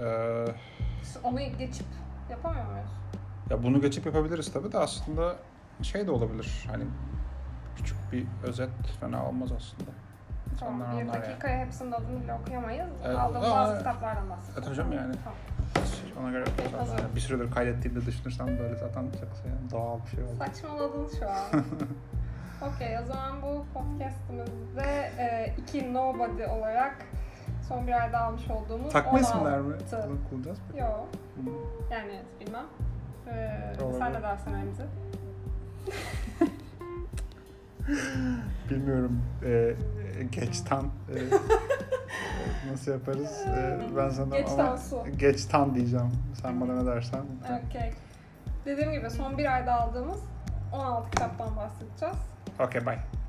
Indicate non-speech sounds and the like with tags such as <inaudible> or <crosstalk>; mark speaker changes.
Speaker 1: Ee,
Speaker 2: Onu geçip yapamıyor muyuz?
Speaker 1: Ya bunu geçip yapabiliriz tabii de aslında şey de olabilir. Hani küçük bir özet fena olmaz aslında. İnsanlar
Speaker 2: Tamam, bir
Speaker 1: anlar yani.
Speaker 2: dakikaya hepsinin adını bile okuyamayız.
Speaker 1: Evet,
Speaker 2: Aldığımız
Speaker 1: ama-
Speaker 2: bazı kitaplardan bahsediyoruz.
Speaker 1: Evet hocam yani.
Speaker 2: Tamam.
Speaker 1: Ona göre yapacağız
Speaker 2: Hazır.
Speaker 1: yani. bir süredir kaydettiğimde düşünürsem böyle zaten çok yani doğal bir şey oldu.
Speaker 2: Saçmaladın şu
Speaker 1: <laughs>
Speaker 2: an. Okey o zaman bu podcastimizde e, iki nobody olarak son bir ayda almış olduğumuz
Speaker 1: Takma
Speaker 2: 16
Speaker 1: isimler mi? Bunu kullanacağız mı?
Speaker 2: Yok yani bilmem. Ee,
Speaker 1: Olabilir.
Speaker 2: sen ne dersin Remzi?
Speaker 1: Bilmiyorum. Ee, geçtan e, nasıl yaparız? Ee, ben sana
Speaker 2: Geçtan
Speaker 1: ama
Speaker 2: su.
Speaker 1: geçtan diyeceğim. Sen bana ne dersen.
Speaker 2: Okey. Dediğim gibi son bir ayda aldığımız 16 kitaptan bahsedeceğiz.
Speaker 1: Okey bye.